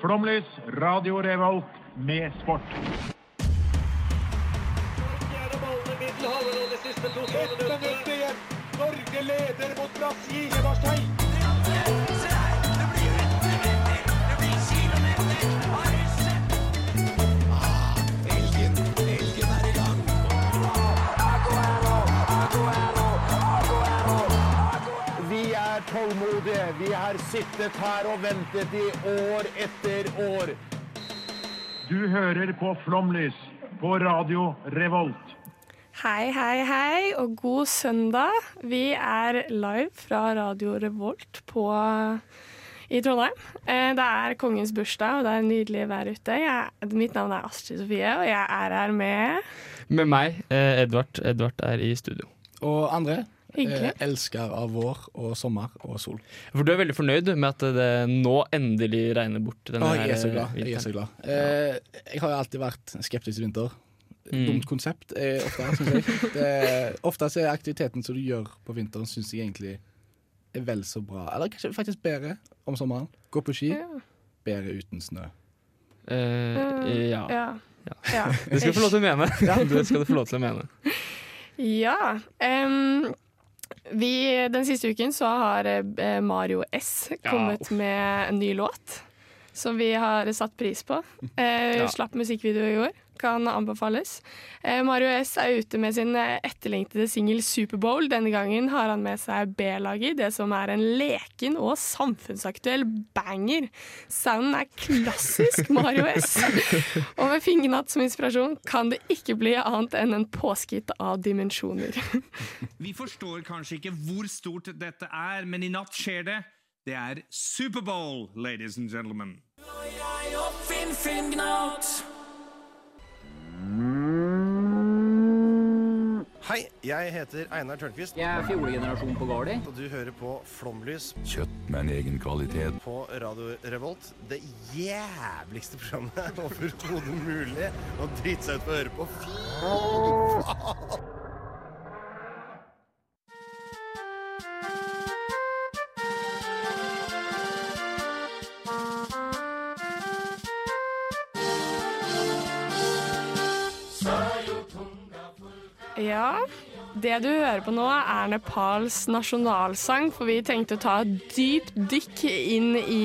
Flomlys, Radio Revolt, med sport. Ett minutt igjen. Norge leder mot Brasil i Marseille. Vi er tålmodige. Vi har sittet her og ventet i år etter år. Du hører på Flomlys på Radio Revolt. Hei, hei, hei, og god søndag. Vi er live fra Radio Revolt på, i Trondheim. Eh, Det er kongens bursdag, og det er nydelig vær ute. Jeg, mitt navn er Astrid Sofie, og jeg er her med Med meg, eh, Edvard. Edvard er i studio. Og André Hyggelig. eh, elsker av vår og sommer og sol. For du er veldig fornøyd med at det nå endelig regner bort denne Å, Ah, her, jeg er så glad. eh, Jeg, er så vinteren. glad. Eh, jeg har jo alltid vært skeptisk til vinter. Mm. Dumt konsept eh, ofte, synes jeg. Det, ofte så er aktiviteten som du gjør på vinteren, syns jeg egentlig er vel så bra. Eller kanskje faktisk bedre om sommeren. Gå på ski. Ja. Bedre uten snø. Eh, ja. Ja. ja. Det skal du få lov til å mene. Det skal du få lov til å mene. Ja. em, vi, den siste uken så har eh, Mario S kommet med en ny låt, som vi har satt pris på. Eh, Ja. Slapp musikkvideo i går. Kan anbefales. Eh, Mario S er ute med sin eh, etterlengtede singel Superbowl. Denne gangen har han med seg B-laget, det som er en leken og samfunnsaktuell banger. Sounden er klassisk Mario S. Og med Fingernatt som inspirasjon kan det ikke bli annet enn en påskehytte av dimensjoner. Vi forstår kanskje ikke hvor stort dette er, men i natt skjer det. Det er Superbowl, ladies and gentlemen. Hei, jeg heter Einar Tørnquist, Jeg er fjolegenerasjon på Gardi. og du hører på Flomlys Kjøtt med en egen kvalitet. på Radio Revolt. Det jævligste programmet overhodet mulig å drite seg ut på å høre på. Fy faen! Ja, det du hører på nå er Nepals nasjonalsang, for vi tenkte å ta et dypt dykk inn i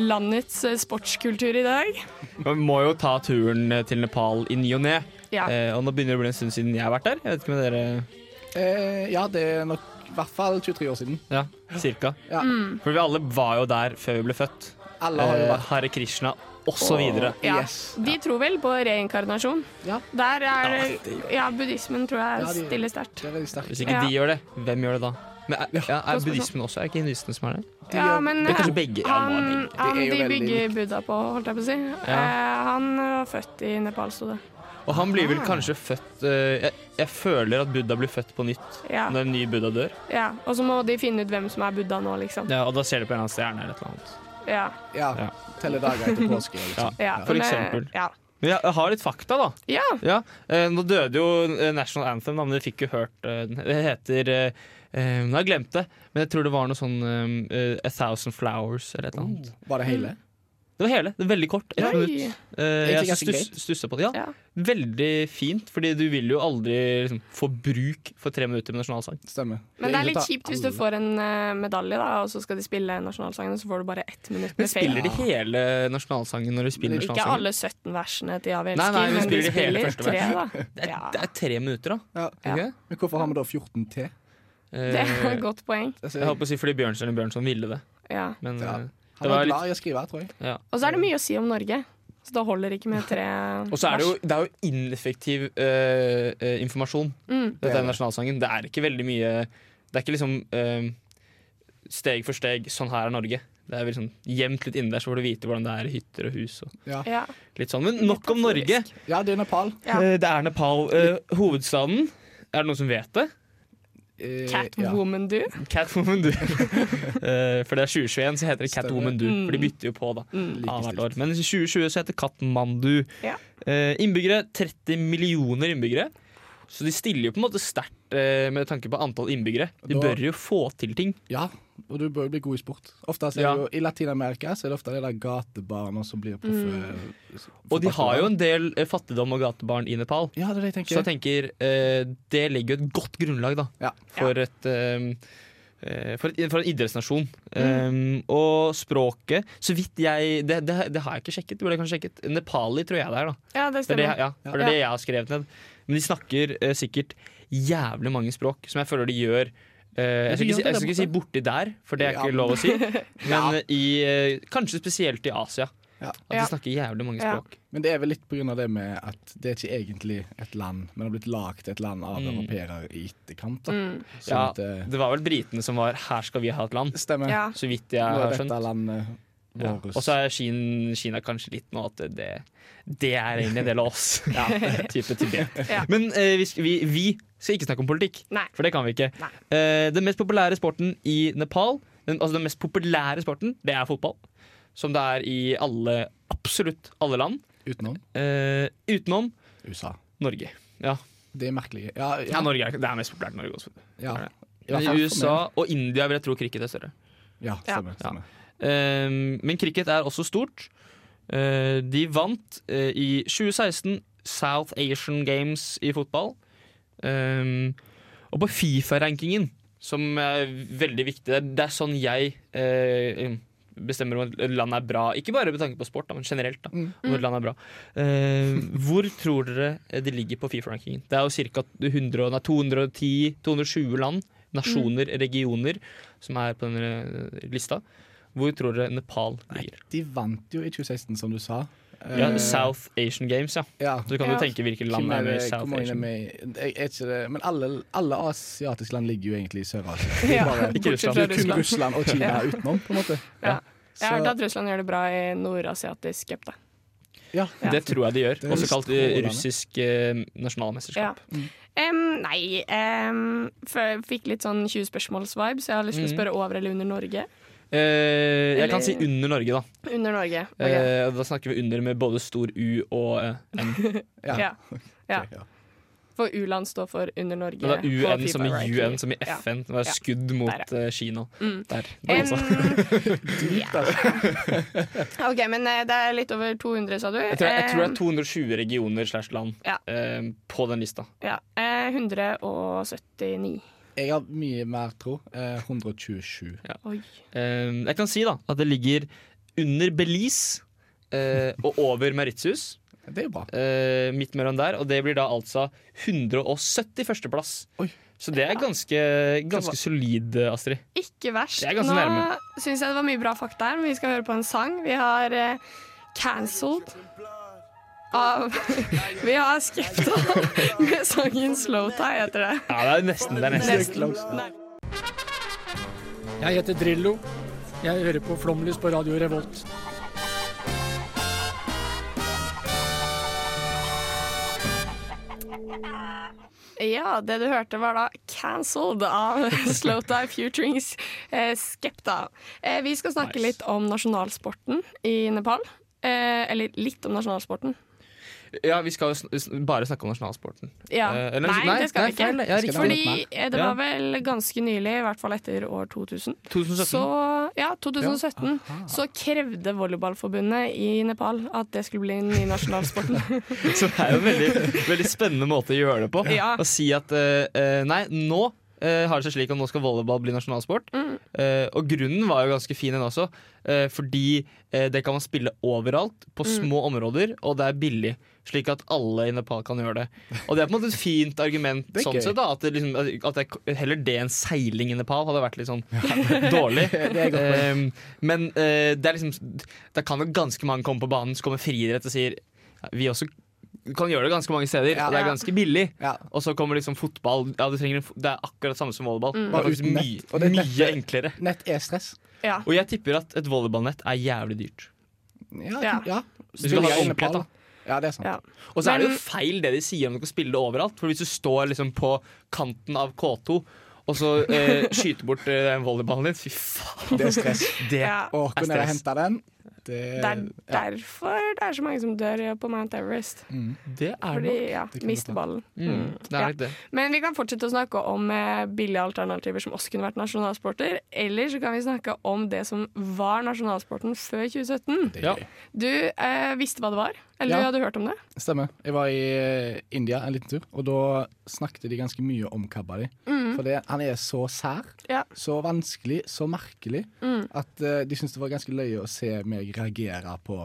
landets eh, sportskultur i dag. Men vi må jo ta turen til Nepal i ny og ne. Ja. Eh, og nå begynner det å bli en stund siden jeg har vært der. Jeg vet ikke med dere Eh, ja, det er nok i hvert fall 23 år siden. Ja, cirka. Ja. Mm. For vi alle var jo der før vi ble født. Alle har jo Eh, vært Hare Krishna og så videre. Ja, Yes. de tror vel på reinkarnasjon. Ja. Der er Ja, det- Ja, buddhismen tror Ja, jeg de- stiller sterkt. Det er veldig sterkt. Hvis ikke Ja. de gjør det, hvem gjør det da? Men er, ja, er buddhismen også? Er ikke hinduistene som er det? De Ja, gjør- men Det er han, kanskje begge. Ja, nå er det han, begge. han Det er jo de veldig bygger Buddha på, holdt jeg på å si. Eh, han var født i Nepal, sto det. Og han blir vel kanskje født eh, jeg, jeg føler at Buddha blir født på nytt Ja. når en ny Buddha dør. Ja, og så må de finne ut hvem som er Buddha nå, liksom. Ja, og da ser de på en eller annen stjerne eller et eller annet. Ja, Ja, Ja. teller dager etter påske. Liksom. ja. For Men, eh, eksempel. Ja. Men jeg, jeg har litt fakta, da. ja. Ja, eh, Nå døde jo eh, National Anthem, da, men dere fikk jo hørt eh, den. Det heter eh, eh, Nå har jeg glemt det, men jeg tror det var noe sånn eh, eh, A Thousand Flowers eller et eller annet. Var det hele? Det var hele. det er Veldig kort. Ett Oi. minutt. Eh, Egentlig jeg ganske stuss, greit. stussa på det. Ja. Ja. Veldig fint, fordi du vil jo aldri liksom, få bruk for tre minutter med nasjonalsang. Stemmer. Men det er litt inntar kjipt hvis du alle. får en eh, medalje, da, og så skal de spille nasjonalsangen, og så får du bare ett minutt Men med feil. spiller de hele nasjonalsangen når de spiller Ah. Ikke nasjonalsangen? alle 17 versene til Ja, vi Nei, elsker, nei, vi men de spiller hele spiller første tre, da. Det er, Ja, det er tre minutter, da. Ja. Ikke det? Men hvorfor har vi da 14 til? det Eh, er et godt poeng. Altså, jeg holdt på å si fordi Bjørnstjerne Bjørnson ville det, Ja. men Ja. eh, han det var var litt glad i å skrive, tror jeg. ja. Og så er det mye å si om Norge, så da holder det ikke med tre Og så er det jo, det er jo ineffektiv eh, eh, informasjon, Mm. dette er nasjonalsangen. Det er ikke veldig mye Det er ikke liksom eh, steg for steg 'sånn her er Norge'. Det er vel sånn gjemt litt inni der, så får du vite hvordan det er i hytter og hus. Og Ja. litt sånn. Men nok om Norge. Ja, det er Nepal. Ja. Eh, det er Nepal. Eh, hovedstaden Er det noen som vet det? Eh, Catwoman, du. Catwoman Du. Eh, for det er 2021, så heter det Catwoman Du. Mm. For de bytter jo på, da. Annethvert år. Men i 2020 så heter Katmandu. Ja. Eh, innbyggere 30 millioner innbyggere. Så de stiller jo på en måte sterkt eh, med tanke på antall innbyggere. De Da- bør jo få til ting. Ja, og du bør jo bli god i sport. Ofte er det Ja. jo, I Latin-Amerika så er det ofte de der gatebarna som blir proffe. Og de har jo en del eh, fattigdom og gatebarn i Nepal. Ja, det er det jeg Så jeg tenker tenker. eh, det legger jo et godt grunnlag da, Ja. for, et, eh, eh, for, et, for en idrettsnasjon. Eh, og språket Så vidt jeg Det, det, det har jeg ikke sjekket. Det burde jeg kanskje sjekket. Nepali tror jeg det er. da Ja, det Det er det, jeg- stemmer. ja, for det, er det jeg har skrevet ned. Men de snakker eh, sikkert jævlig mange språk, som jeg føler de gjør eh, jeg, skal de ikke, si- gjør det jeg der skal ikke borte. si borti der, for det er Ja. ikke lov å si. Men i, eh, kanskje spesielt i Asia. Ja. At de Ja. snakker jævlig mange Ja. språk. Men det er vel litt pga. det med at det er ikke egentlig et land, men har blitt lagd et land av europeere i etterkant. Da. Sånn Mm. Ja, at det det var vel britene som var 'her skal vi ha et land', stemmer. Ja. så vidt jeg Nå har er skjønt. dette landet Ja. vårt. Og så er Kina, Kina kanskje litt nå at det, det er egentlig en del av oss. ja, type Tibet. Ja. Men eh, vi, sk- vi, vi skal ikke snakke om politikk, Nei. for det kan vi ikke. Eh, den mest populære sporten i Nepal, den, altså den mest populære sporten, det er fotball. Som det er i alle, absolutt alle land. Utenom eh, utenom USA. Norge. Ja, Det er merkelig. Ja, ja ja, Norge er, det er mest populært i Norge også. ja. I hvert Men fall for i USA og India vil jeg tro cricket er større. meg. Ja, stemmer. Ja. stemmer. Um, men cricket er også stort. Uh, de vant uh, i 2016 South Asian Games i fotball. Um, og på Fifa-rankingen, som er veldig viktig Det er, det er sånn jeg uh, bestemmer om et land er bra. Ikke bare med tanke på sport, da, men generelt. da, Om et land er bra. Uh, hvor tror dere de ligger på Fifa-rankingen? Det er jo ca. 210-220 land, nasjoner, regioner, som er på denne eh, lista. Hvor tror dere Nepal ligger? De vant jo i 2016, som du sa. Ja, Eh, South Asian Games, ja. ja. Så du kan Ja. jo tenke hvilket land Hvem er med i det- hvor South mange er Asian. med i- det er ikke det, men alle, alle asiatiske land ligger jo egentlig i Sør-Asia. Det er Ja. bare- Ikke Bortsett Russland. fra det er kun Russland. Russland og Kina utenom, på en måte. Ja. Jeg har Så- hørt at Russland gjør det bra i nordasiatisk cup, da. Ja. Det tror jeg de gjør. Det er Også kalt eh, strålende. russisk eh, Ja. nasjonalmesterskap. Em, nei em, for jeg fikk litt sånn 20 spørsmåls-vibe, så jeg har lyst Mm. til å spørre over eller under Norge. Eh, jeg kan Eller- si under Norge, da. Under Norge. ok. Eh, da snakker vi under med både stor U og eh, N. ja. ja. ja. ja. For U-land står for under Norge. Men det på er UN FIFA som i ranking. UN, som i Ja. Mm. FN. Det er skudd mot eh, Kina. Der. Em, altså. liksom. ja. OK, men eh, det er litt over 200, sa du? Jeg tror, jeg tror det er 220 regioner slash land Ja. eh, på den lista. Ja. eh, 179. Jeg har mye mer tro. Eh, 127. Oi. Eh, jeg kan si da at det ligger under Belize eh, og over Mauritius. Det er jo bra. eh, midt mellom der, og det blir da altså 171. plass. Oi. Så det er ganske, ganske solid, eh, Astrid. Ikke verst. Det er Nå ganske nærme. syns jeg det var mye bra fakta her, men vi skal høre på en sang. Vi har eh, cancelled av Vi har Skepta med sangen Slow Tie, heter det. Ja, det er nesten det er nesten. Nesten. Nei. Jeg heter Drillo. Jeg hører på Flomlys på Radio Revolt. Ja, det du hørte var da 'Cancelled' av Slowtie Futurings eh, Skepta. Eh, vi skal snakke Nice. litt om nasjonalsporten i Nepal. Eh, eller litt om nasjonalsporten. Ja, vi skal jo sn- sn- bare snakke om nasjonalsporten. Ja. Eh, eller- nei, det skal nei, vi ikke. feil. Ja, riktig. Fordi eh, det Ja. var vel ganske nylig, i hvert fall etter år 2000, 2017. Så, ja, 2017 så krevde volleyballforbundet i Nepal at det skulle bli den nye nasjonalsporten. Så det er jo en veldig, veldig spennende måte å gjøre det på. Ja. Å si at eh, eh, nei, nå eh, har det seg slik at nå skal volleyball bli nasjonalsport. Eh, og grunnen var jo ganske fin den også, eh, fordi eh, det kan man spille overalt, på små områder, og det er billig. Slik at alle i Nepal kan gjøre det. Og det er på en måte et fint argument er sånn gøy. sett, da, at, det liksom, at det, heller det enn seiling i Nepal hadde vært litt sånn dårlig. er et godt Eh, men eh, det er liksom Da kan jo ganske mange komme på banen, så kommer friidrett og sier ja, vi også kan gjøre det ganske mange steder. Ja. og Det er ganske billig. Ja. Og så kommer liksom fotball. Ja, du trenger en, fo- det er akkurat det samme som volleyball. Det Bare er faktisk uten mye, nett. Og det mye nettet- enklere. Nett er stress. ja. Og jeg tipper at et volleyballnett er jævlig dyrt. Ja. Ja. ja. Hvis du skal ha Spiller i ordentlig, Nepal, da. Ja, det er sant. ja. Og så er det Men- jo feil det de sier om du kan spille det overalt. For hvis du står liksom på kanten av K2 og så eh, skyter bort eh, den volleyballen din, fy faen. Det er stress. Det Ja. Å, kunne Er stress. jeg henta den? Det, Det eh, er derfor det er så mange som dør på Mount Everest. Mm. Det er Fordi, nok. ja, det kan mister godt ballen. Mm, det er Ja. nok det. Men vi kan fortsette å snakke om eh, billige alternativer som også kunne vært nasjonalsporter. Eller så kan vi snakke om det som var nasjonalsporten før 2017. det Ja. er gøy. Du eh, visste hva det var, eller Ja. du hadde hørt om det? Stemmer. Jeg var i eh, India en liten tur, og da snakket de ganske mye om kabaddi. For det, han er så sær, Ja. så vanskelig, så merkelig, at eh, de syntes det var ganske løye å se meg reagere på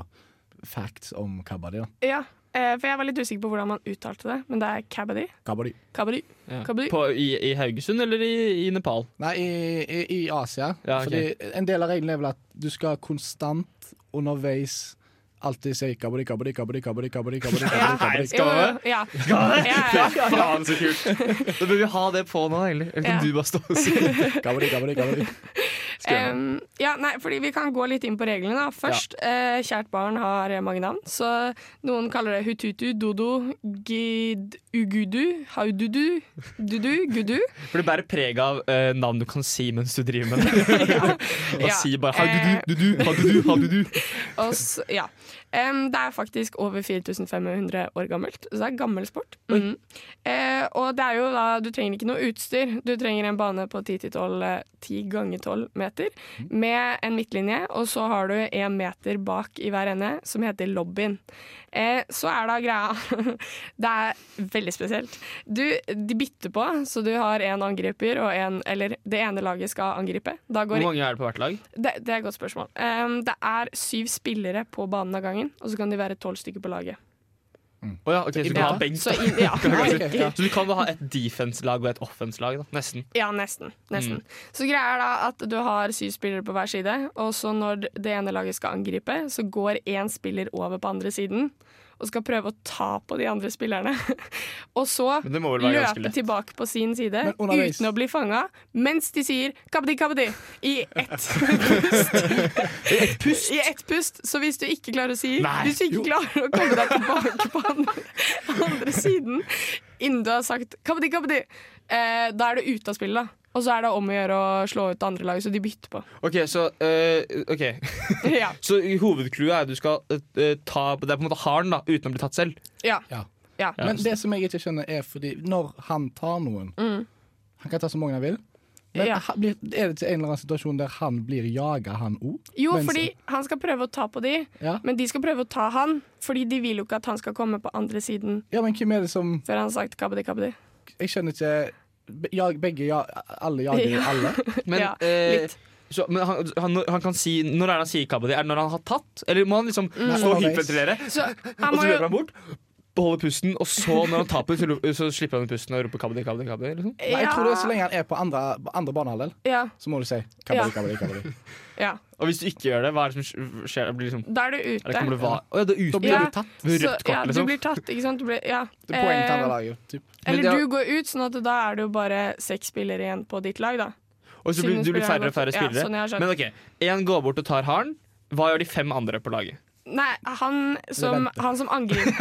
facts om kabaddi. da. Ja, eh, for jeg var litt usikker på hvordan man uttalte det, men det er kabaddi. Kabaddi. Kabaddi. kabaddi. På, i, I Haugesund eller i, i Nepal? Nei, i, i, i Asia. Ja, ok. Fordi en del av reglene er vel at du skal konstant underveis alltid si kabaddi, kabaddi, kabaddi, kabaddi, kabaddi, kabaddi, kabaddi, kabaddi. Skal Jo, det? jo, Ja. Ja, ja, ja. Faen, så kult! Da bør vi ha det på nå, egentlig. Eller kan Ja. du bare stå og si det? kabaddi, kabaddi, kabaddi. Em, Eh, ja, nei, fordi Vi kan gå litt inn på reglene. da Først, eh, Kjært barn har eh, mange navn. Så Noen kaller det hututu, dodo, gid, ugudu, haududu, dudu, gudu. For det bærer preg av eh, navn du kan si mens du driver med det. Og Ja. Eh, si bare ha-du-du, ha-du-du, ha-du-du. Og s- ja. Em, det er faktisk over 4500 år gammelt, så det er gammel sport. Mm. Eh, og det er jo da, du trenger ikke noe utstyr. Du trenger en bane på 10-12 eh, 10 ganger 12 meter med en midtlinje, og så har du en meter bak i hver ende som heter lobbyen. Eh, så er da greia Det er veldig spesielt. Du, de bytter på, så du har en angriper og en Eller det ene laget skal angripe. Da går Hvor mange er det på hvert lag? det, det er et godt spørsmål. Ehm, det er syv spillere på banen av gangen, og så kan de være tolv stykker på laget. Å ja, ok, så du kan Ja. ha benk, Så da. inn- ja. Så du kan bare ha et defense-lag og et offense-lag, da. Nesten. Ja, nesten. nesten. Mm. Så greia er da at du har syv spillere på hver side, og så når det ene laget skal angripe, så går én spiller over på andre siden og skal prøve å ta på de andre spillerne. og så Men det må vel være ganske løpe lett. tilbake på sin side underveis- uten å bli fanga, mens de sier 'kabadi, kabadi' i ett I ett pust, så hvis du ikke klarer å si Hvis du ikke klarer å komme deg tilbake på andre, andre siden innen du har sagt kabadi, kabadi, eh, da er du ute av spillet, da. Og så er det om å gjøre å slå ut det andre laget, så de bytter på. OK, så eh, ok. Ja. Så hovedclouet er at du skal eh, ta Det er på en måte haren, da, uten å bli tatt selv. ja. Ja. Ja. Men det som jeg ikke skjønner, er fordi når han tar noen Han kan ta så mange han vil. Men Mm. Ja. han blir, er det til en eller annen situasjon der han blir jaga, han òg? Jo, fordi han skal prøve å ta på de, Ja. men de skal prøve å ta han, fordi de vil jo ikke at han skal komme på andre siden Ja, men hvem er det som før han har sagt kabadi, kabadi. Jeg skjønner ikke Be- jag, Begge ja, Alle jager Ja. jo alle. Men, Ja, eh, litt. Så, men han, han, han kan si Når er det han sier kabadi? Er det når han har tatt? Eller må han liksom stå og Underveis. hyperventilere? Så han må Og så løper jo han bort, beholder pusten, og så når han taper, så, lo- så slipper han ut pusten og roper kabadi, kabadi, kabadi. Liksom. Nei, jeg tror det er så ja, lenge han er på andre, andre banehalvdel, ja, så må du si Ja. kabadi, kabadi, kabadi. ja. Og hvis du ikke gjør det, hva er det som sk- skjer? Det Blir liksom, Da er du ute. eller kommer det hva? Å ja, det er Da ute. blir Ja. du tatt. Med Så, rødt ja, kort, du liksom. blir tatt, ikke sant? Du blir, ja. Det er poeng til andre Eh, laget. Typ. Eller Men det er- du går ut, sånn at da er det jo bare seks spillere igjen på ditt lag, da. Og så blir Syvende du blir spiller har færre og færre gått- ja, spillere. sånn jeg har skjønt. Men ok, én går bort og tar haren. Hva gjør de fem andre på laget? Nei, han som, venter. han som angriper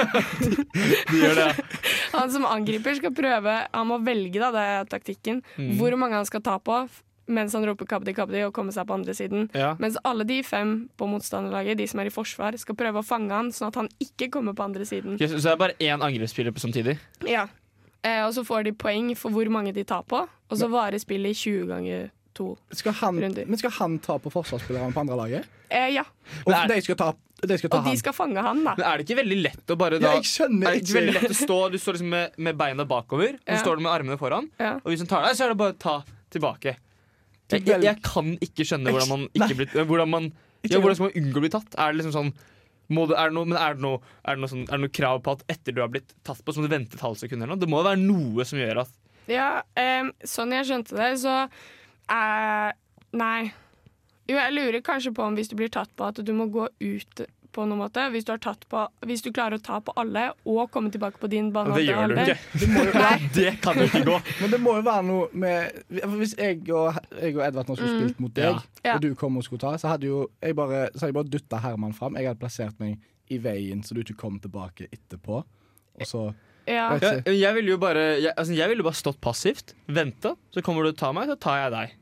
De gjør det, ja. Han som angriper skal prøve Han må velge, da, det er taktikken. Mm. Hvor mange han skal ta på f- mens han roper 'kabdi, kabdi' og komme seg på andre siden. Ja. Mens alle de fem på motstanderlaget, de som er i forsvar, skal prøve å fange han, sånn at han ikke kommer på andre siden. Ok, så så det er bare én angrepsspiller på samtidig? Ja. Eh, og så får de poeng for hvor mange de tar på, og så varer spillet i 20 ganger 2. Skal han, Runder. men skal han ta på forsvarsspillerne på andre laget? Eh, ja. Og Nei. de skal ta, de skal ta Og de han? skal fange han, da. Men er det ikke veldig lett å bare da Ja, jeg skjønner Er det ikke ikke. veldig lett å stå Du står liksom med, med beina bakover, og så Ja. står du med armene foran. Ja. Og hvis hun tar deg, så er det bare å ta tilbake. Jeg, jeg, jeg kan ikke skjønne hvordan man ikke blir Hvordan man ja, hvordan skal man unngå å bli tatt? Er det liksom sånn må du, er det noe, men er det noe, er det noe, sånn, er det noe krav på at etter du har blitt tatt på, så må du vente et halvt sekund? eller noe? Det må jo være noe som gjør at Ja, em, sånn jeg skjønte det, så eh, Nei. Jo, jeg lurer kanskje på om hvis du blir tatt på at du må gå ut på noen måte. Hvis du, har tatt på, hvis du klarer å ta på alle og komme tilbake på din bane. Det gjør du ikke. Nei, det kan jo ikke gå. Men det må jo være noe med Hvis jeg og, jeg og Edvard nå skulle spilt mot deg, Mm. Ja. og du kom og skulle ta, så hadde jo jeg bare, så hadde jeg bare dytta Herman fram. Jeg hadde plassert meg i veien, så du ikke kom tilbake etterpå. Og så Ja. Ja, Jeg vet ikke. jeg ville jo bare jeg, altså, jeg ville bare stått passivt, venta, så kommer du og tar meg, så tar jeg deg.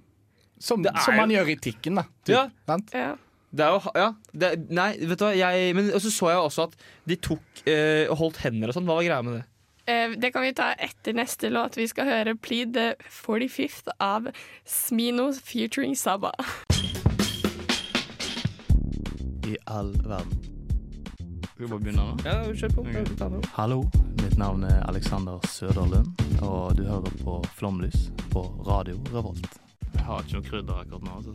Som, Det er som man jo- gjør i Tikken, da. Ja. Sant? Ja. Det er jo, ha- ja, det, er- nei, vet du hva, jeg, men så så jeg også at de tok eh, og holdt hender og sånn. Hva var greia med det? Eh, Det kan vi ta etter neste låt. Vi skal høre Plead the 45th av Smino featuring Saba. i all verden. Skal vi bare begynne nå? Ja, kjør på. Ta det opp. Hallo, mitt navn er Alexander Søderlund, og du hører på Flomlys på Radio Revolt. Jeg har ikke noe krydder akkurat nå.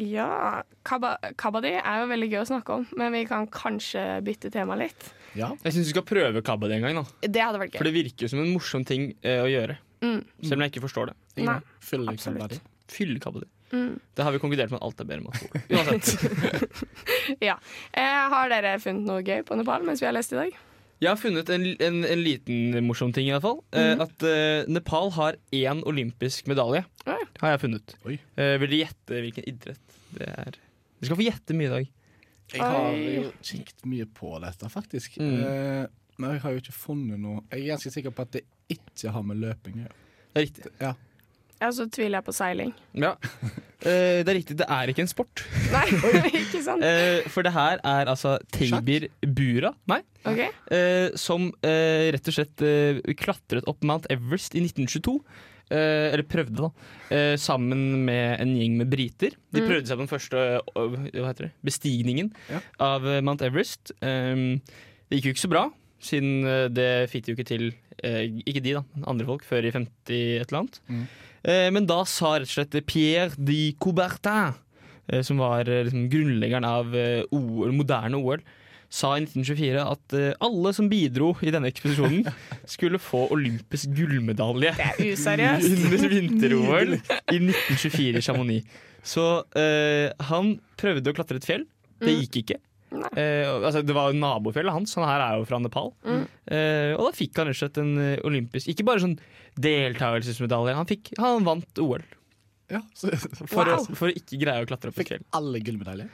Ja, Kabba, Kabadi er jo veldig gøy å snakke om, men vi kan kanskje bytte tema litt. Jeg syns vi skal prøve kabba det en gang. da Det hadde vært gøy. For det virker jo som en morsom ting eh, å gjøre. Mm. Selv om jeg ikke forstår det. Nei, Nei, Fylle liksom absolutt. kabba Fyllekabba di. Mm. Det har vi konkludert med at alt er bedre med alkohol. Uansett. Ja. Eh, har dere funnet noe gøy på Nepal mens vi har lest i dag? Jeg har funnet en, en, en liten morsom ting, i hvert fall. Eh, Mm. At eh, Nepal har én olympisk medalje. Oi. Har jeg funnet. Oi. Eh, vil dere gjette hvilken idrett det er? Dere skal få gjette mye i dag. Jeg har Oi. jo kikket mye på dette, faktisk. Mm. Eh, men jeg har jo ikke funnet noe Jeg er ganske sikker på at det ikke har med løping å gjøre. Det er riktig. Ja, så tviler jeg på seiling. Ja. Eh, det er riktig, det er ikke en sport. Nei, ikke sant? Eh, for det her er altså Teibir Bura Nei. Ok. Eh, som eh, rett og slett eh, klatret opp Mount Everest i 1922. Eh, eller prøvde, da. Eh, sammen med en gjeng med briter. De Mm. prøvde seg på den første eh, hva heter det? bestigningen Ja. av eh, Mount Everest. Eh, det gikk jo ikke så bra, siden eh, det fikk de jo ikke til eh, Ikke de, da, men andre folk, før i 50 et eller annet. Mm. Eh, men da sa rett og slett Pierre de Coubertin, eh, som var eh, liksom, grunnleggeren av eh, OL, moderne OL, sa i 1924 at eh, alle som bidro i denne ekspedisjonen, skulle få olympisk gullmedalje Det er useriøst. under vinter-OL i 1924 i Chamonix. Så eh, han prøvde å klatre et fjell. Det Mm. gikk ikke. Nei. Eh, altså, det var jo nabofjellet hans, han her er jo fra Nepal. Mm. Eh, og da fikk han rett og slett en eh, olympisk Ikke bare sånn deltakelsesmedalje, han, fikk, han vant OL. Ja, så For, Wow. å, for å ikke greie å klatre opp et fikk fjell. alle gullmedaljer.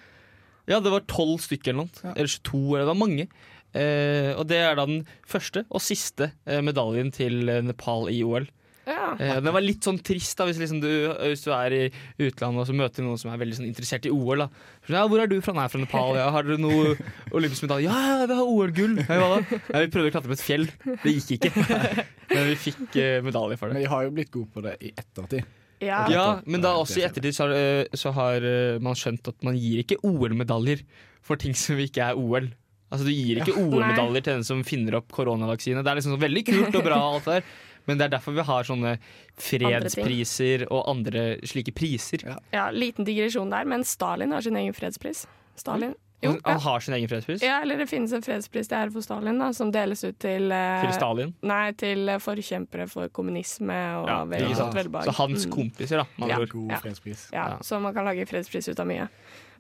Ja, det var tolv stykker eller noe. Ja. Eller 22, eller det var mange. Eh, og det er da den første og siste eh, medaljen til eh, Nepal i OL. Ja. Eh, den var litt sånn trist da hvis, liksom du, hvis du er i utlandet og så møter du noen som er veldig sånn interessert i OL. Da. Så, Ja, 'Hvor er du fra?' 'Nei, jeg er fra Nepal.' Ja, 'Har dere noe olympisk medalje?' 'Ja, ja, vi har OL-gull.' Ja, hva da? Nei, vi prøvde å klatre på et fjell. Det gikk ikke. Men vi fikk eh, medalje for Men det. de har jo blitt gode på det i ettertid. ja. Ja, Men da også i ettertid så har, eh, så har eh, man skjønt at man gir ikke OL-medaljer for ting som ikke er OL. Altså Du gir ikke OL-medaljer til den som finner opp koronavaksine. Det er liksom sånn veldig kult og bra, og alt det der men det er derfor vi har sånne fredspriser og andre slike priser. ja, liten digresjon der, men Stalin har sin egen fredspris. Stalin. Jo, han, ja. han har sin egen fredspris? ja, eller det finnes en fredspris til ære for Stalin, da, som deles ut til eh, Til Stalin? Nei, til eh, forkjempere for kommunisme og Ja, vel, ikke sant. velbehag. Så hans Mm. kompiser, da. Ja. Med andre ord. God Ja. fredspris. Ja, Ja. Så man kan lage fredspris ut av mye.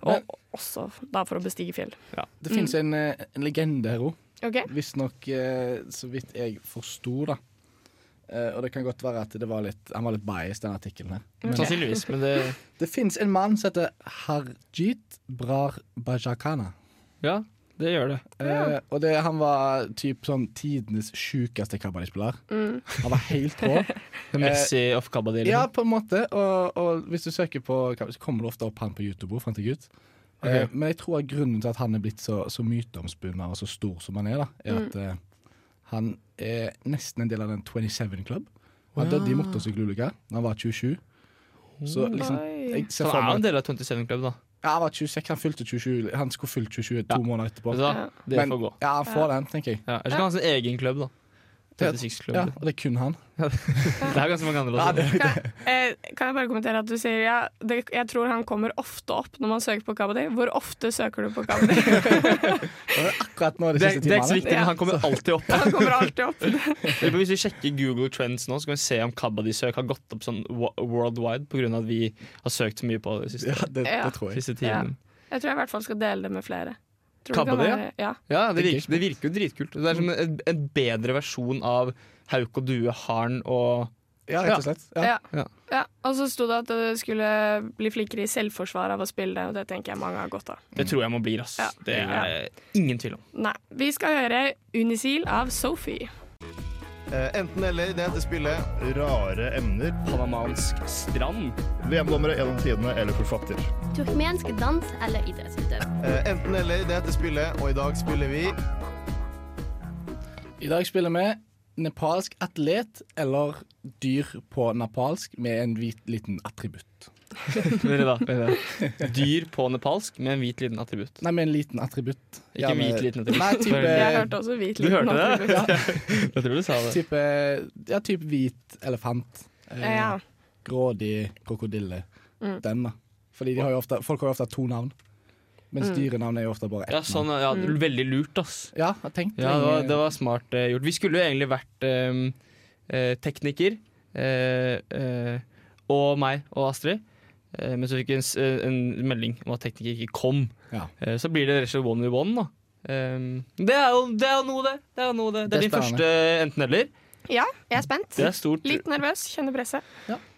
Men- Og også da for å bestige fjell. Det finnes en, eh, en legende her òg, OK? visstnok eh, så vidt jeg forsto, da. Eh, og det kan godt være at det var litt, han var litt biased, den artikkelen her. Sannsynligvis. Men det Det fins en mann som heter Harjit Brar Bajakana. Ja, det gjør det. Eh, og det, han var typ sånn tidenes sjukeste kabbalespiller. Mm. Han var helt rå. The Messi of Kabadil. Eh, ja, på en måte. Og, og hvis du søker på kabbalist, så kommer det ofte opp han på YouTube. Fant jeg ut. Eh, Ok. men jeg tror at grunnen til at han er blitt så, så myteomspunnet og så stor som han er, da, er at eh, han er nesten en del av den 27 Club. Han døde i motorsykkelulykke da han var 27. Så liksom Oi. jeg Oh Så ser han er for jo en meg, del av 27 Club, da. ja, Han var 26, han fylte 27 Han skulle fylt 27 to Ja. måneder etterpå. Vet du hva? Ja. Det Men- får gå. Ja, han får den, tenker jeg. Ja, Ellers kan han ha sin egen klubb, da. 36 klubb. Ja, og det er kun han. Det er ganske mange andre også. Kan, eh, kan jeg bare kommentere at du sier ja, det, jeg tror han kommer ofte opp når man søker på Kabadi. Hvor ofte søker du på Kabadi? Akkurat nå de Det, siste det er ikke så timene. viktig, men han kommer alltid opp. Han kommer alltid opp. Eller Hvis vi sjekker Google Trends nå, så kan vi se om Kabaddi-søk har gått opp sånn wo- worldwide pga. at vi har søkt så mye på det siste, Ja, det, Ja. det tror jeg. siste tiden. Jeg tror jeg i hvert fall skal dele det med flere. Tror du Kabaddi, kan være- ja. Ja, det Det er virker, det virker jo dritkult. Det er som en, en bedre versjon av Hauk og Due, Harn og Ja, rett og slett. Ja. Ja. Ja. Ja. Og så sto det at du skulle bli flinkere i selvforsvar av å spille det, og det tenker jeg mange har godt av. Det tror jeg man blir, ass. Ja. Det er ingen tvil om. Nei. Vi skal høre Unisil av Sophie. Eh, Eh, Enten eller, det heter spillet. Rare emner. Panamansk strand. VM-dommere gjennom tidene eller forfatter. Turkmensk dans eller idrettsutøver. Eh, Enten eller, det heter spillet, og i dag spiller vi I dag spiller vi nepalsk atlet eller dyr på napalsk med en hvit liten attributt. Vent da, vent da. Dyr på nepalsk med en hvit liten attributt. Nei, med en liten attributt. Ikke Gjerne- hvit liten attributt. Nei, type, Jeg hørte også hvit Eh, Du liten hørte det? attributt. Jeg tror du sa det. type, ja, type hvit elefant. Eh, Ja. Grådig krokodille. Mm. Den, da. Fordi de har jo ofte, folk har jo ofte to navn. Mens Mm. dyrenavn er jo ofte bare ett. Ja, sånn, ja, Mm. Veldig lurt, ass. Ja, jeg tenkte Ja, det var, lenge- det var smart eh, gjort. Vi skulle jo egentlig vært ehm, eh, tekniker. eh, eh, og meg og Astrid. Eh, men så fikk vi en, s- eh, en melding om at tekniker ikke kom. Ja. Eh, så blir det rett og slett one we one, da. Ehm, det, er jo, det er jo noe, det. Det er, jo noe, det. det er Det din er første eh, enten-eller. Ja, jeg er spent. Det er stort. Litt nervøs, kjenner presset.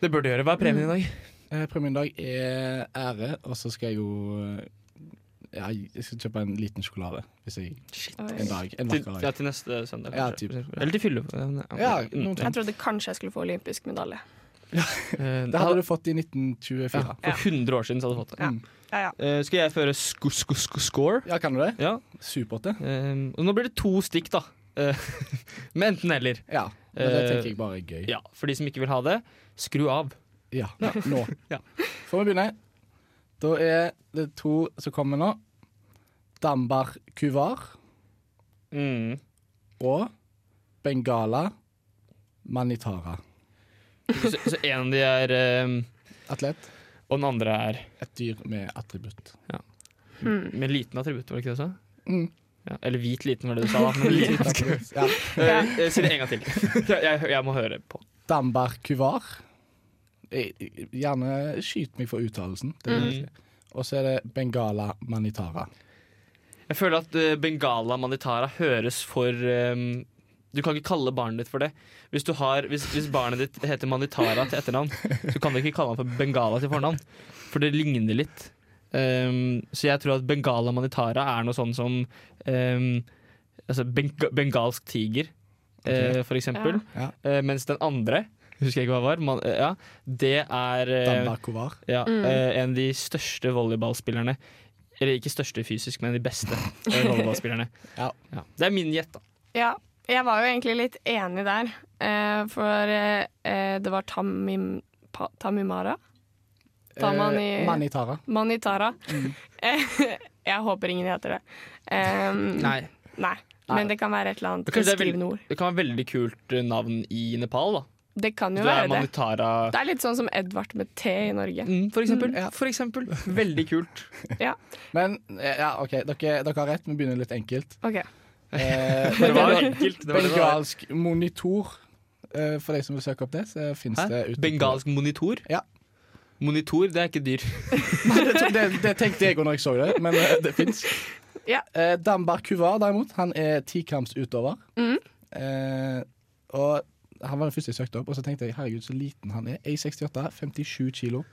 Det bør du gjøre. Hva er premien i dag? Eh, premien i dag er ære, og så skal jeg jo eh, ja, Jeg skal kjøpe en liten sjokolade hvis jeg En dag. En Til, vakker dag. ja, til neste søndag. Ja, kanskje, typ. for eksempel. Eller til fylle. Ja, Mm, noe Jeg trodde kanskje jeg skulle få olympisk medalje. Eh, Det hadde du fått i 1924. Ja, for 100 år siden så hadde du fått det. Ja, ja. Eh, skal jeg føre sk sk sk score? Ja, kan du det? Ja. Supert, det. og nå blir det to stikk, da. Eh, Med enten-eller. Ja, men det tenker jeg bare er gøy. Ja, For de som ikke vil ha det, skru av. Ja, nå. Får vi begynne? Da er det to som kommer nå. Dambar kuvar. Og Bengala manitara. Så, så en av de er ehm, Atlet. Og den andre er Et dyr med attributt. Ja. Mm. Med liten attributt, var det ikke det du sa? Mm. Ja, eller hvit liten, var det du sa. da, Men Hvit liten attributt, ja. Eh, eh, Si det en gang til. Jeg, jeg, jeg må høre på. Dambar kuvar. Jeg- jeg- Gjerne skyt meg for uttalelsen. Det vil jeg Mm. si. Og så er det Bengala manitara. Jeg føler at eh, Bengala Manitara høres for ehm, Du kan ikke kalle barnet ditt for det. Hvis, du har, hvis, hvis barnet ditt heter Manitara til etternavn, så kan du ikke kalle han for Bengala til fornavn. For det ligner litt. Ehm, så jeg tror at Bengala Manitara er noe sånn som ehm, altså beng bengalsk tiger, eh, for eksempel. Ja. Eh, mens den andre, husker jeg ikke hva det var, man, eh, ja, det er eh, Dambar kuvar. ja, Mm. eh, en av de største volleyballspillerne. Eller ikke største fysisk, men de beste eh, volleyballspillerne. ja. Det er min gjett, da. Ja, jeg var jo egentlig litt enig der, eh, for eh, eh, det var Tamim, pa, Tamimara? Tamani, Eh, Manitara. Manitara. Eh, jeg håper ingen heter det. Em, Nei. nei. Men det kan være et eller annet Kanskje det, er beskrivende veld- ord. det kan være veldig kult eh, navn i Nepal, da. Det kan jo Du er være det. Manitara Mm. Det er litt sånn som Edvard med T i Norge. for eksempel. For eksempel. Veldig kult. Ja. Men eh, ja, OK, dere, dere har rett. Vi begynner litt enkelt. OK. Eh, Det var men- enkelt, det var det det var. Bengalsk monitor. eh, for de som vil søke opp det, så fins Hæ? det ute. på- Bengalsk monitor? Ja. Monitor, det er ikke dyr. Nei, det, det, det tenkte jeg òg når jeg så det, men eh, det fins. Ja. Eh, Dambar Kuvar, derimot, han er tikampsutøver. Mm. Eh, og han var den første jeg søkte opp, og så tenkte jeg herregud, så liten han er. A68, 57 kilo.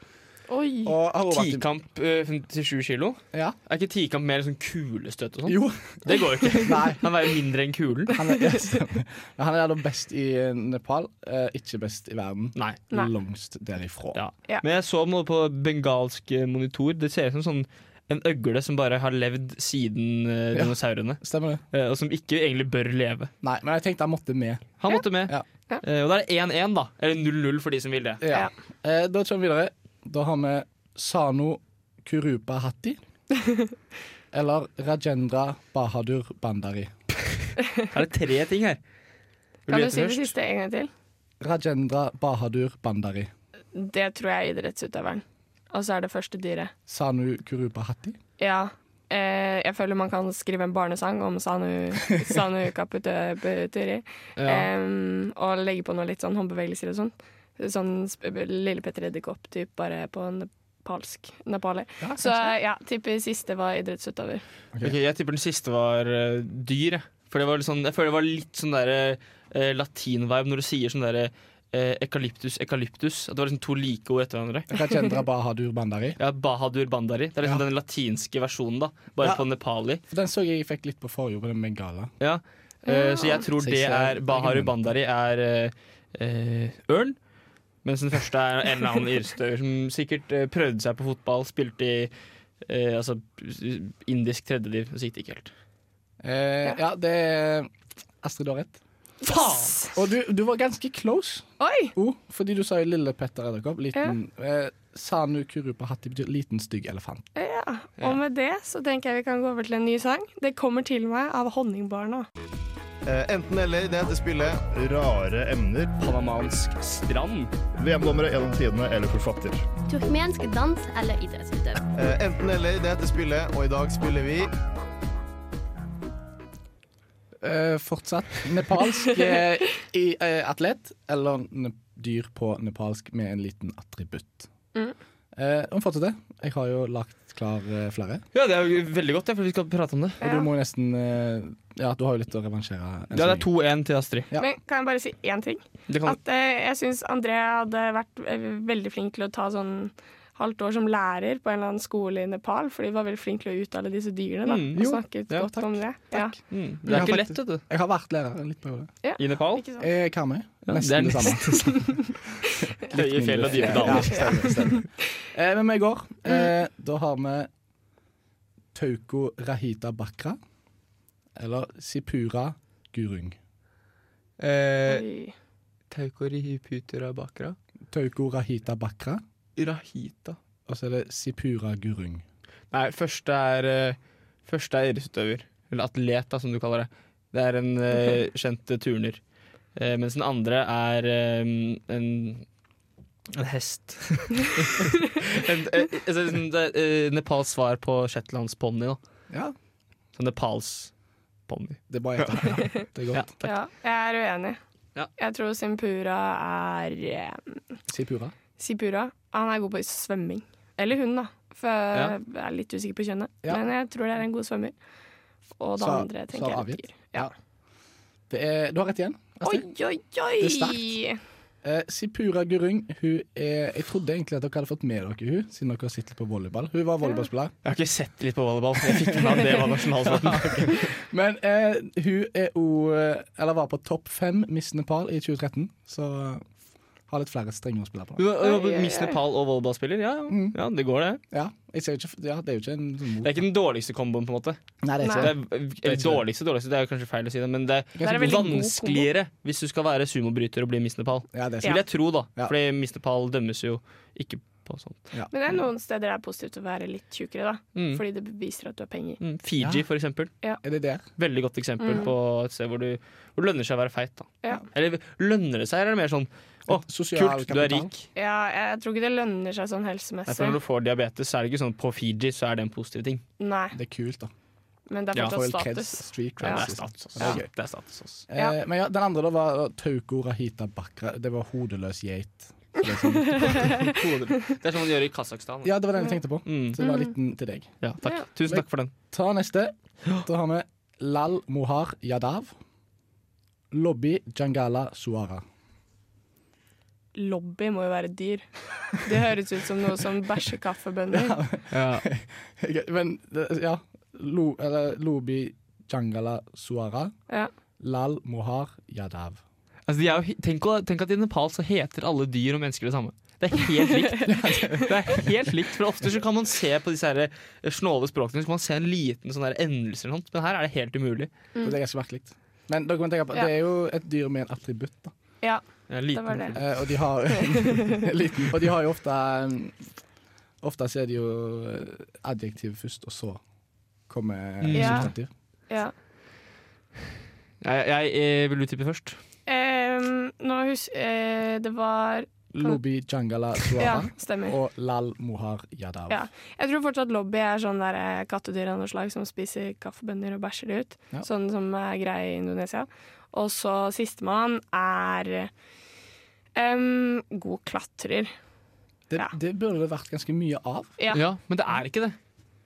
Oi. Og har hun vært i- Tikamp eh, 57 kilo? Ja. Er ikke tikamp mer sånn kulestøt og sånn? Jo. Det går jo ikke. Nei. Han veier mindre enn kulen. Han er, ja, stemmer. Men han er da best i Nepal, eh, ikke best i verden. Nei. Nei. Langst derifra. Ja. Men jeg så noe på bengalsk eh, monitor. Det ser ut som sånn en øgle som bare har levd siden eh, Ja, dinosaurene. Stemmer det. Eh, og som ikke egentlig bør leve. Nei, men jeg tenkte han måtte med. Han måtte med. Eh, og da er det 1-1, da. Eller 0-0 for de som vil det. Ja. Eh, da kjører vi videre. Da har vi Sano Kurupa Hatti. Eller Rajendra Bahadur Bandari. Er det tre ting her? Kan du si det siste en gang til? Rajendra Bahadur Bandari. Det tror jeg er idrettsutøveren. Og så er det første dyret. Sanu Kurupa Hatti. Ja. Eh, jeg føler man kan skrive en barnesang om Sanu, Sanu Kaputuri. Ja. Em, og legge på noe litt sånn håndbevegelser og sånn. Sånn sp- Lille Petter Edderkopp, typ, bare på nepalsk. Nepali. Så eh, ja, tipper siste var idrettsutøver. Ok, jeg tipper den siste var eh, dyr. jeg. For det var litt sånn, jeg føler det var litt sånn der eh, latinvibe når du sier sånn derre ekalyptus, ekalyptus. At det var liksom to like ord etter hverandre. Rajendra Bahadur Bandari. Ja, Bahadur Bandari. Det er liksom Ja. den latinske versjonen, da. Bare Ja. på nepali. Den så jeg jeg fikk litt på forrige på den Bengala. Ja. Eh, så jeg tror det Seksuell er Bahar argument. Bandari er eh, eh, ørn. Mens den første er en eller annen irstøver som sikkert eh, prøvde seg på fotball, spilte i eh, altså, indisk tredjediv, og så gikk det ikke helt. Eh, ja, det er Astrid har rett. Faen! Og du, du var ganske close. Oi! fordi du sa jo Lille Petter Edderkopp. Liten, eh, Sanu Kurupa Hatti betyr liten, stygg elefant. Ja, og med det så tenker jeg vi kan gå over til en ny sang. Det kommer til meg av Honningbarna. Eh, enten eller, det heter spillet Rare emner. Panamansk strand. VM-dommere gjennom tidene eller forfatter. Turkmensk dans eller idrettsutøver. Eh, enten eller, det heter spillet, og i dag spiller vi Eh, fortsatt nepalsk eh, i, eh, atlet eller ne dyr på nepalsk med en liten attributt. Mm. Eh, og fortsett det. Jeg har jo lagt klar eh, flere. Ja, det er jo veldig godt, ja, for vi skal prate om det. Og du må jo nesten eh, Ja, du har jo litt å revansjere. enn Ja, det så er 2-1 til Astrid. Ah. Men kan jeg bare si én ting? Det Sånn- kan- At eh, jeg syns André hadde vært eh, veldig flink til å ta sånn halvt år som lærer på en eller annen skole i Nepal, fordi de var veldig flink til å uttale disse dyrene, da. Mm. og Jo. snakket Ja, godt om det. Ja. Mm, Jeg har faktisk- Jeg har vært lærer en liten periode. Ja. I Nepal? Eh, Karmøy. Ja, det er Nesten det, samme. Litt Høye fjell og mindre. dype daler. Ja, stemmer, stemmer. Eh, men vi går. Mm. Eh, da har vi Tauko Rahita Bakra. Eller Sipura Gurung. Eh, Taukorihiputura bakra. Tauko Rahita Bakra. Rahita. Og så er det Sipura Gurung. Nei, første er eh, Første er idrettsutøver. Eller atlet, da, som du kaller det. Det er en eh, kjent eh, turner. Eh, mens den andre er eh, en en hest. en, eh, altså, sånn, det er, eh, Nepals svar på shetlandsponni, da. Ja. Sånn Nepals ponni. Det er bare ett. Det er godt. ja, jeg er uenig. Jeg tror Simpura er eh, Sipura. Sipura. Han er god på svømming. Eller hun, da. For Ja. jeg er litt usikker på kjønnet. Ja. Men jeg tror det er en god svømmer. Og det Svar- andre svar tenker jeg avgitt. er dyr. Ja. Det er, du har rett igjen. Oi, Astrid. oi, Det er sterkt. oi! Eh, Sipura Gurung, hun er Jeg trodde egentlig at dere hadde fått med dere hun siden dere har sett litt på volleyball. Hun var volleyballspiller. Jeg har ikke sett litt på volleyball. Jeg fikk med meg at det var nasjonalsporten. Men eh, hun er jo eh, Eller var på topp fem Miss Nepal i 2013, så eh, har litt flere strenger å spille på. Du var- du var Miss Nepal og volleyballspiller? Ja, Mm. ja, det går, det. Ja, jeg ser jo ikke, ja, det er jo ikke en sånn Det er ikke den dårligste komboen, på en måte. Nei, det er ikke det. er- eller dårligste, dårligste, det er jo kanskje feil å si det, men det Det er, er en veldig god kombo. vanskeligere hvis du skal være sumobryter og bli Miss Nepal. det er sant. Vil jeg tro, da. Ja. Fordi Miss Nepal dømmes jo ikke på sånt. Men det er noen steder det er positivt å være litt tjukkere, da. Mm. Fordi det viser at du har penger. Mm, Fiji, for eksempel. Ja. Er det der? Veldig godt eksempel Mm. på et sted hvor, du, hvor det lønner seg å være feit. Da. Ja. Eller lønner det seg, eller er det mer sånn å, sosial kult, du er kapital. rik. Ja, jeg tror ikke det lønner seg sånn Nei, for helsemessig. når du får diabetes, så er det ikke sånn på Fiji så er det en positiv ting. Nei, Det er kult, da. men det er Ja. fortsatt Får status. street Ja, det creds, er liksom. status. Ja, Ja. det er gøy. Det er status altså. også. Eh, Men ja, den andre da var eh, Tauko Rahita Bakra. Det var hodeløs geit. Så Det er sånn, det er sånn man gjør i Kasakhstan. da. ja, det var den jeg tenkte på. Så det var Mm. liten til deg. Ja, takk. Tusen takk for den. Ta neste. Da har vi Lal Mohar Yadav. Lobby Jangala Suara. Lobby må jo være dyr. Det høres ut som noe som bæsjekaffebønner. Men det- ja Lo, eller, Lobi Jangala Suara. Ja. Lal Mohar Yadav. Altså, de er jo, he- tenk, å- tenk at i Nepal så heter alle dyr og mennesker det samme. Det er helt likt. Det er helt likt, For ofte så kan man se på disse her eh, snåle språkene Så kan man se en liten sånn der endelse, eller noe sånt, men her er det helt umulig. Så Det er ganske merkelig. Men dere må tenke på, Ja. det er jo et dyr med en attributt. Da. Ja, Ja, det var det. Eh, og, de har, liten, og de har jo ofte um, Ofte så er det jo eh, adjektiv først, og så kommer Mm. Ja. substantiv. Ja. Jeg, jeg, eh, vil du tippe først? Em, nå husk eh, Det var Lobi Jangala Ja, Suara stemmer. og Lal Mohar Yadav. Ja. Jeg tror fortsatt lobby er sånn der eh, kattedyr av noe slag som spiser kaffebønner og bæsjer det ut. Ja. Sånn som er greie i Indonesia. Og så sistemann er em, god klatrer. Det, det burde det vært ganske mye av. Ja. Men det er ikke det.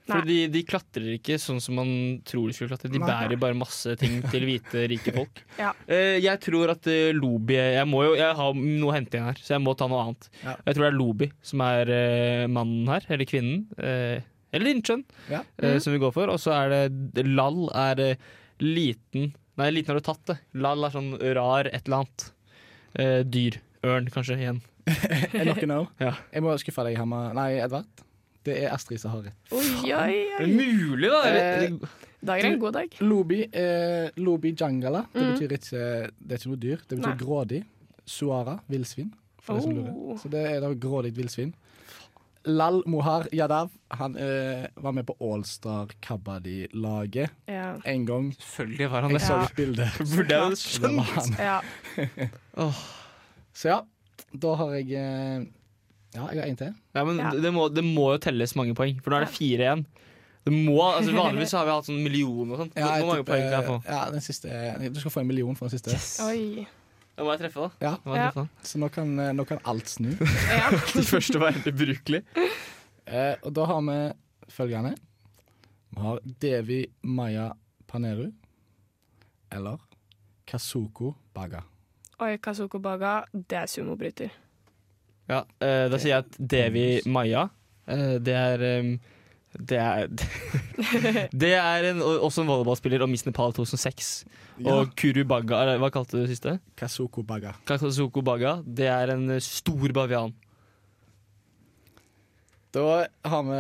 For de, de klatrer ikke sånn som man tror de skulle klatre. De Nei. bærer bare masse ting til hvite, rike folk. Ja. Eh, jeg tror at eh, Lobi Jeg må jo, jeg har noe å hente igjen her, så jeg må ta noe annet. Ja. Jeg tror det er Lobi som er eh, mannen her, eller kvinnen. eh, eller innkjønn, Ja. eh, som vi går for. Og så er det Lal er eh, Liten Nei, liten har du tatt det. Lal er sånn rar et eller annet. Eh, dyr. Ørn, kanskje, igjen. Er noen nå? Ja. Jeg må skuffe deg, Hammer. Nei, Edvard. Det er Astrid som har rett. Oi, oi, Er oi. det mulig, da? Eh, Eller- Dagen er en god dag. Lobi, eh, Lobi jangala. Det Mm. betyr ikke Det er ikke noe dyr. Det betyr Nei. grådig. Suara, villsvin. For det som Oh. lurer. Så det er da grådig villsvin. Lal Mohar Yadav Han eh, var med på Allstar Kabaddi-laget Ja. en gang. Selvfølgelig var han Jeg det. så Ja. et bilde. Burde jeg jo Så det var skjønt. Ja. Åh. Så ja, da har jeg eh, Ja, jeg har en til. Nei, men Ja. det, må, det må jo telles mange poeng, for nå er det fire igjen. Det må, altså Vanligvis så har vi hatt sånn million og sånn. Ja, jeg Hvor mange tipper- poeng kan jeg få? Ja, den siste, eh, du skal få en million for den siste. Oi. Da må jeg treffe, da. Ja. Da må jeg treffe, da. Så nå kan, eh, nå kan alt snu. Den første var helt ubrukelig. Eh, og da har vi følgende. Vi har Devi Maya Paneru. Eller Kazuko Baga. Oi, Kazuko Baga, det er sumobryter. Ja, eh, da sier jeg at Devi Maja, eh, det er em, det er, det er en, og- også en volleyballspiller og Miss Nepal 2006. Ja. Og Kuru Baga, eller hva kalte du det siste? Kazuko Baga. Kazuko Baga. Det er en eh, stor bavian. Da har vi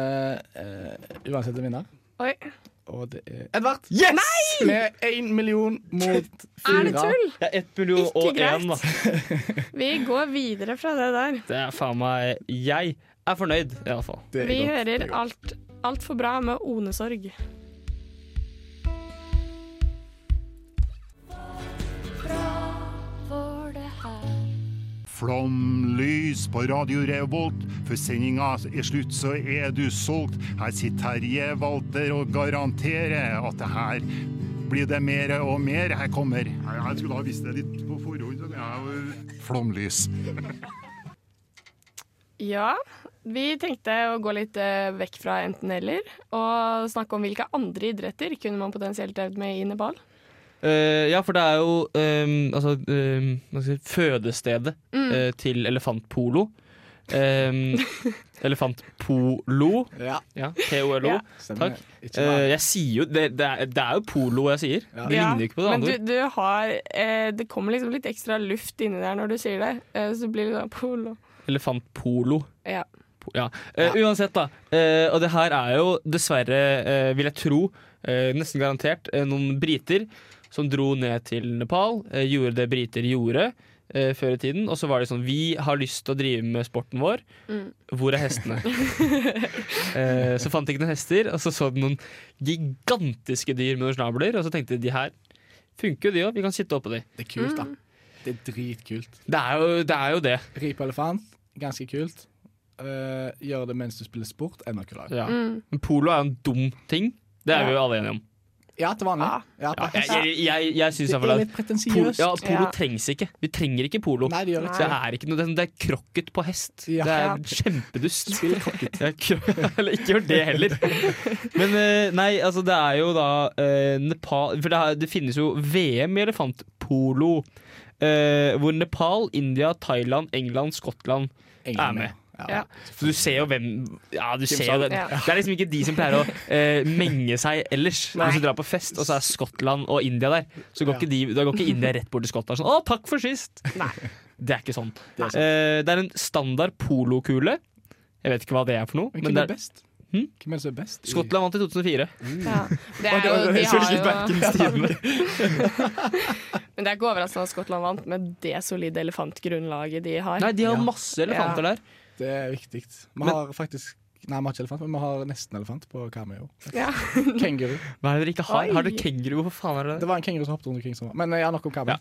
eh, uansett en vinner. Oi. Og det er Edvard! Yes! Med én million mot fire. Er det tull? Ja, ett million Ikke og greit. én, da. Vi går videre fra det der. Det er faen meg Jeg er fornøyd, i alle fall. Vi hører alt altfor bra med onesorg. Flomlys på Radio Revolt. Før sendinga er slutt, så er du solgt. Her sitter Terje Walter og garanterer at det her blir det mer og mer. Her kommer Jeg skulle ha visst det litt på forhånd. Flomlys. Ja, vi tenkte å gå litt eh, vekk fra enten-eller og snakke om hvilke andre idretter kunne man potensielt øvd med i Nepal. Eh, ja, for det er jo ehm, altså, ehm, hva skal jeg si, fødestedet Mm. eh, til elefantpolo. Ehm, elefantpolo. Ja. P-O-L-O. Ja. Stemmer. Takk. Ikke meg. Eh, jeg sier jo det, det, er, det er jo polo jeg sier. Det ligner jo ikke på det Men andre. du, du har eh, Det kommer liksom litt ekstra luft inni der når du sier det. Eh, så blir det sånn polo. Elefantpolo. Ja. Po- Ja. Eh, uansett, da. Eh, og det her er jo dessverre, eh, vil jeg tro, eh, nesten garantert, eh, noen briter som dro ned til Nepal, eh, gjorde det briter gjorde eh, før i tiden. Og så var det sånn Vi har lyst til å drive med sporten vår. Mm. Hvor er hestene? eh, så fant de ikke noen hester, og så så de noen gigantiske dyr med noen snabler, og så tenkte de de her funker jo, de òg. Vi kan sitte oppå de. Det er kult, Mm. da. Det er dritkult. Det er jo det. Er jo det. Ri på elefant, ganske kult. Eh, gjør det mens du spiller sport, enda kulere. Ja. Mm. Men polo er jo en dum ting. Det er vi jo alle enige om. Ja, til vanlig. Ah. Ja, Ja, jeg faktisk. jeg, jeg, jeg synes Det iallfall er at litt pretensiøst. Pol, ja, polo Ja. trengs ikke. Vi trenger ikke polo. Nei, det gjør ikke det er ikke noe, det er sånn- det er krokket på hest. Ja. Det er kjempedust. Ja, kro- Eller ikke gjør det heller. Men eh, nei, altså det er jo da eh, Nepal For det, er, det finnes jo VM i elefantpolo. eh, hvor Nepal, India, Thailand, England, Skottland England, er med. Ja. Så du ser jo hvem Ja, du Hvem ser sa jo det? det. Ja. Det er liksom ikke de som pleier å eh, menge seg ellers. Når du drar på fest, og så er Skottland og India der, så går, ikke, de, da går ikke India rett bort til Skottland sånn 'Å, takk for sist!' Det er ikke sånn. Det er sant. Eh, det er en standard polokule. Jeg vet ikke hva det er for noe. Men men hvem det Hm? er er- best? Hvem er det som er best? i- Skottland vant i 2004. Ja. Det er Mm. Ok, jo, ok, de jeg skulle ikke har backen jo Stine. Men det er ikke overraskende at Skottland vant med det solide elefantgrunnlaget de har. Nei, de har masse elefanter Ja. der. Det er viktig. Vi Men- har faktisk Nei, vi har ikke elefant, men vi har nesten elefant på Karmøy òg. Ja. Kenguru. Hva er det dere ikke har? Oi. Har dere kenguru? Hvorfor faen er det Det var en kenguru som hoppet rundt omkring. Som var. Men eh, ja, nok om Karmøy.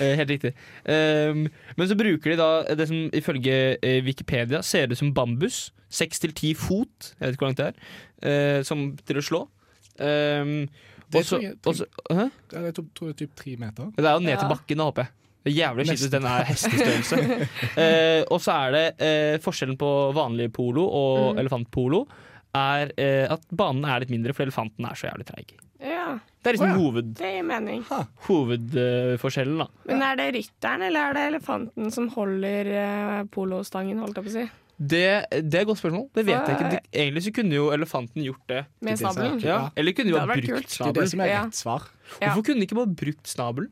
Eh, helt riktig. Ehm, men så bruker de da det som ifølge eh, Wikipedia ser ut som bambus. Seks til ti fot, jeg vet ikke hvor langt det er, eh, som til å slå. Ehm, Det og så- tror jeg- og så- Hæ? Ja, Jeg tror tror det er typ tre meter. Det er jo ned til Ja. bakken, da, håper jeg. Det er Jævlig skitt hvis Nesten. den er hestestørrelse. Eh, og så er det eh, forskjellen på vanlig polo og elefantpolo er eh, at banen er litt mindre, for elefanten er så jævlig treig. Ja. Det er Å liksom ja. hoved, Det gir mening. hovedforskjellen, da. Men er det rytteren eller er det elefanten som holder eh, polostangen, holdt jeg på å si? Det, det er et godt spørsmål. Det vet jeg ikke. Det, egentlig så kunne jo elefanten gjort det. Med snabelen? Ja. Eller kunne jo Det ha hadde vært brukt kult. snabelen. Det er det som er rett svar. Ja. Hvorfor kunne de ikke bare brukt snabelen?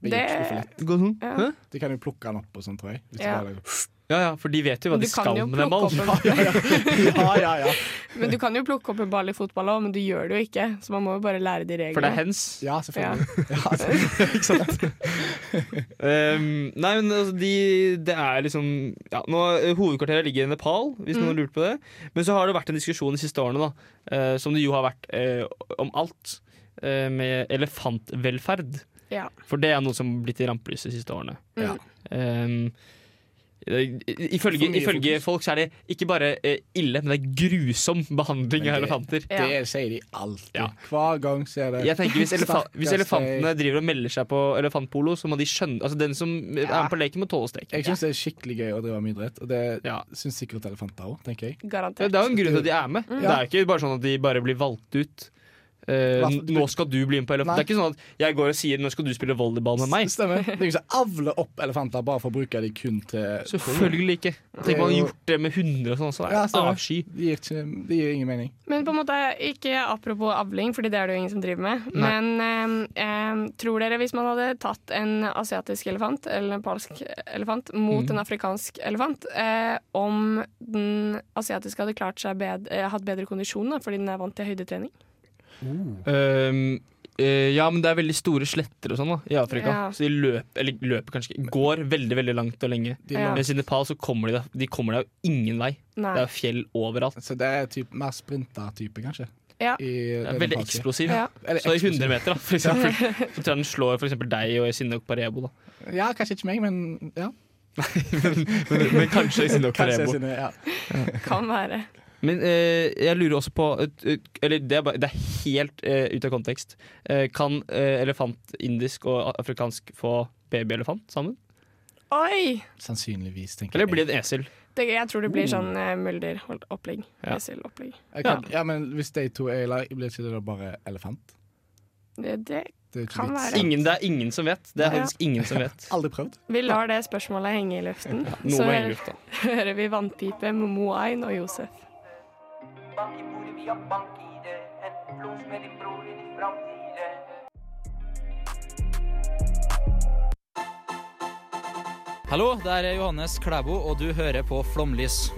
Det- Det er litt Gå sånn. Hæ? De kan jo plukke den opp og sånn, tror jeg. Hvis Ja. de bare, Ja ja, for de vet jo hva Men de du kan skal jo med den plukke ballen. opp en- ja, ja, ja. Men du kan jo plukke opp en ball i fotball òg, men du gjør det jo ikke. Så man må jo bare lære de reglene. For det er hens. Ja, selvfølgelig. Um, nei, men altså, de, det er liksom ja, nå, eh, Hovedkvarteret ligger i Nepal, hvis Mm. noen har lurt på det. Men så har det vært en diskusjon de siste årene, da, eh, som det jo har vært eh, om alt, eh, med elefantvelferd. Ja. For det er noe som har blitt i rampelyset de siste årene. Ja. Um, det- i- ifølge, For mye ifølge folk så er det ikke bare eh, ille, men det er grusom behandling av elefanter. Det, det sier de alltid. Ja. Hver gang sier det Jeg tenker hvis, elefa Stakkars hvis elefantene driver og melder seg på elefantpolo, så må de skjønne Altså Den som er med på leken, må tåle streken. Jeg syns det er skikkelig gøy å drive med idrett, og det syns sikkert elefanter òg, tenker jeg. Ja, Garantert. det er jo en grunn til at de er med. Mm. Det er jo ikke bare sånn at de bare blir valgt ut. Eh, Hva- nå skal du bli med på elefant. Det Nei. er ikke sånn at jeg går og sier 'nå skal du spille volleyball med meg'. Stemmer. Det er ingen som avler opp elefanter bare for å bruke dem kun til Selvfølgelig ikke. Tenk om man hadde gjort det med hunder og sånn. Så er det Ja, stemmer. avsky. Det gir, ikke, det gir ingen mening. Men på en måte, ikke apropos avling, fordi det er det jo ingen som driver med. Nei. Men ehm, ehm, tror dere hvis man hadde tatt en asiatisk elefant, eller en palsk elefant, mot Mm. en afrikansk elefant, eh, om den asiatiske hadde klart seg bed eh, hatt bedre kondisjon da, fordi den er vant til høydetrening? Ehm, eh, ja, men det er veldig store sletter og sånn da i Afrika. Ja. Så de løper, eller løper kanskje ikke, går veldig veldig langt og lenge. De Ja. Mens i Nepal så kommer de da De kommer da jo ingen vei. Nei. Det er jo fjell overalt. Så det er typ, mer sprintertype, kanskje. Ja. I- Det er veldig eksplosiv. Ja. Eller Så i eksplosiv. 100 meter, da, for eksempel, så tror jeg den slår for eksempel deg og Sinne Parebo. Da. Ja, kanskje ikke meg, men ja. Men, men kanskje Sinne Kanskje Parebo. Sinne, ja. Kan være. Men eh, jeg lurer også på et- et- Eller det er, bare, det er helt eh, ut av kontekst. Eh, kan eh, elefant indisk og afrikansk få babyelefant sammen? Oi! Sannsynligvis, tenker Eller blir det en esel? Det, jeg tror det blir Oh. sånn eh, mulderopplegg. Mm. Ja. Eselopplegg. Jeg kan, ja. men hvis de to er i lag, blir ikke det da bare elefant? Det, det Det er ikke kan vits. være. Ingen, det er ingen som vet. Det er Ja. faktisk ingen som vet. Aldri prøvd. Vi lar det spørsmålet henge i luften. Ja, noe Så må henge hører- i lufta. hører vi Vannpipe med Moain og Josef. Hallo, det er Johannes Klæbo, og du hører på Flomlys.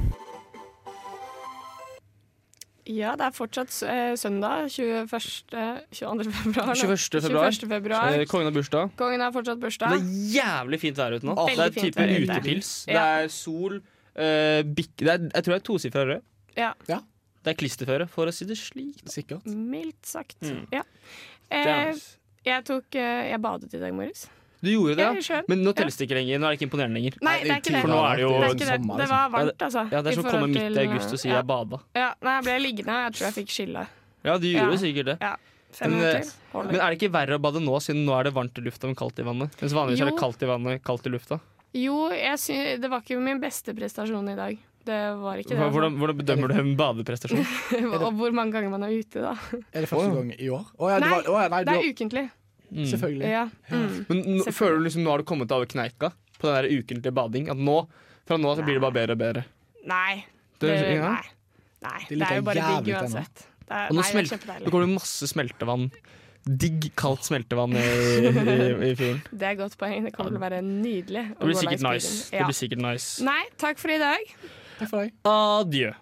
Ja, det er fortsatt eh, søndag 21. 22. februar. nå. 21. februar. 21. februar. Eh, Kongen har bursdag. Kongen har fortsatt Det bursdag. er jævlig fint vær ute nå. Veldig Det er fint type vær ute. utepils. Det Ja. er sol. eh, bikk, det er, jeg tror det er tosifra rød. Ja. Det er klisterføre, for å si det slik. Sikkert. Mildt sagt. Mm. Ja. Det er Eh, nice. jeg tok eh, Jeg badet i dag morges. Du gjorde det, Ja, i ja. sjøen. Men nå Ja. telles det ikke lenger. Nå er det ikke imponerende lenger. Nei, det er ikke det. For nå er det jo liksom. Det er ikke det. Det var varmt, altså, Ja, det er som i å komme forhold midt i til- august og si ja. 'jeg bada'. Ja, nei, jeg ble liggende. Jeg tror jeg fikk skille. Ja, du gjorde Ja. sikkert det. Ja. Fem men, eh, minutter. Holder. men er det ikke verre å bade nå, siden nå er det varmt i lufta, men kaldt i vannet? Mens vanligvis er Jo. det kaldt i vannet, kaldt i lufta. Jo, jeg sy det var ikke min beste prestasjon i dag. Det var ikke det. altså. Hvordan, hvordan bedømmer du en badeprestasjon? og hvor mange ganger man er ute, da. Er det første gang i år? Å, ja, det Nei, var, å, ja, nei, det du- er ukentlig. Mm. Selvfølgelig. Ja. Mm. Men nå, føler du liksom nå har du kommet deg over kneika på den der ukentlige bading? At nå, fra nå av så blir det bare bedre og bedre? Nei. Det- Det, ja. nei. nei. Det Det liker er jo bare jeg digg jævlig ennå. uansett. Det er, Og nå, nei, det er smelt, nå kjempedeilig. går det masse smeltevann. Digg kaldt smeltevann i, i, i fjorden. Det er et godt poeng. Det kommer til å være nydelig. å Det blir gå sikkert langs nice. byen. Det blir sikkert nice. Nei, takk for i dag. Takk for deg. Adjø.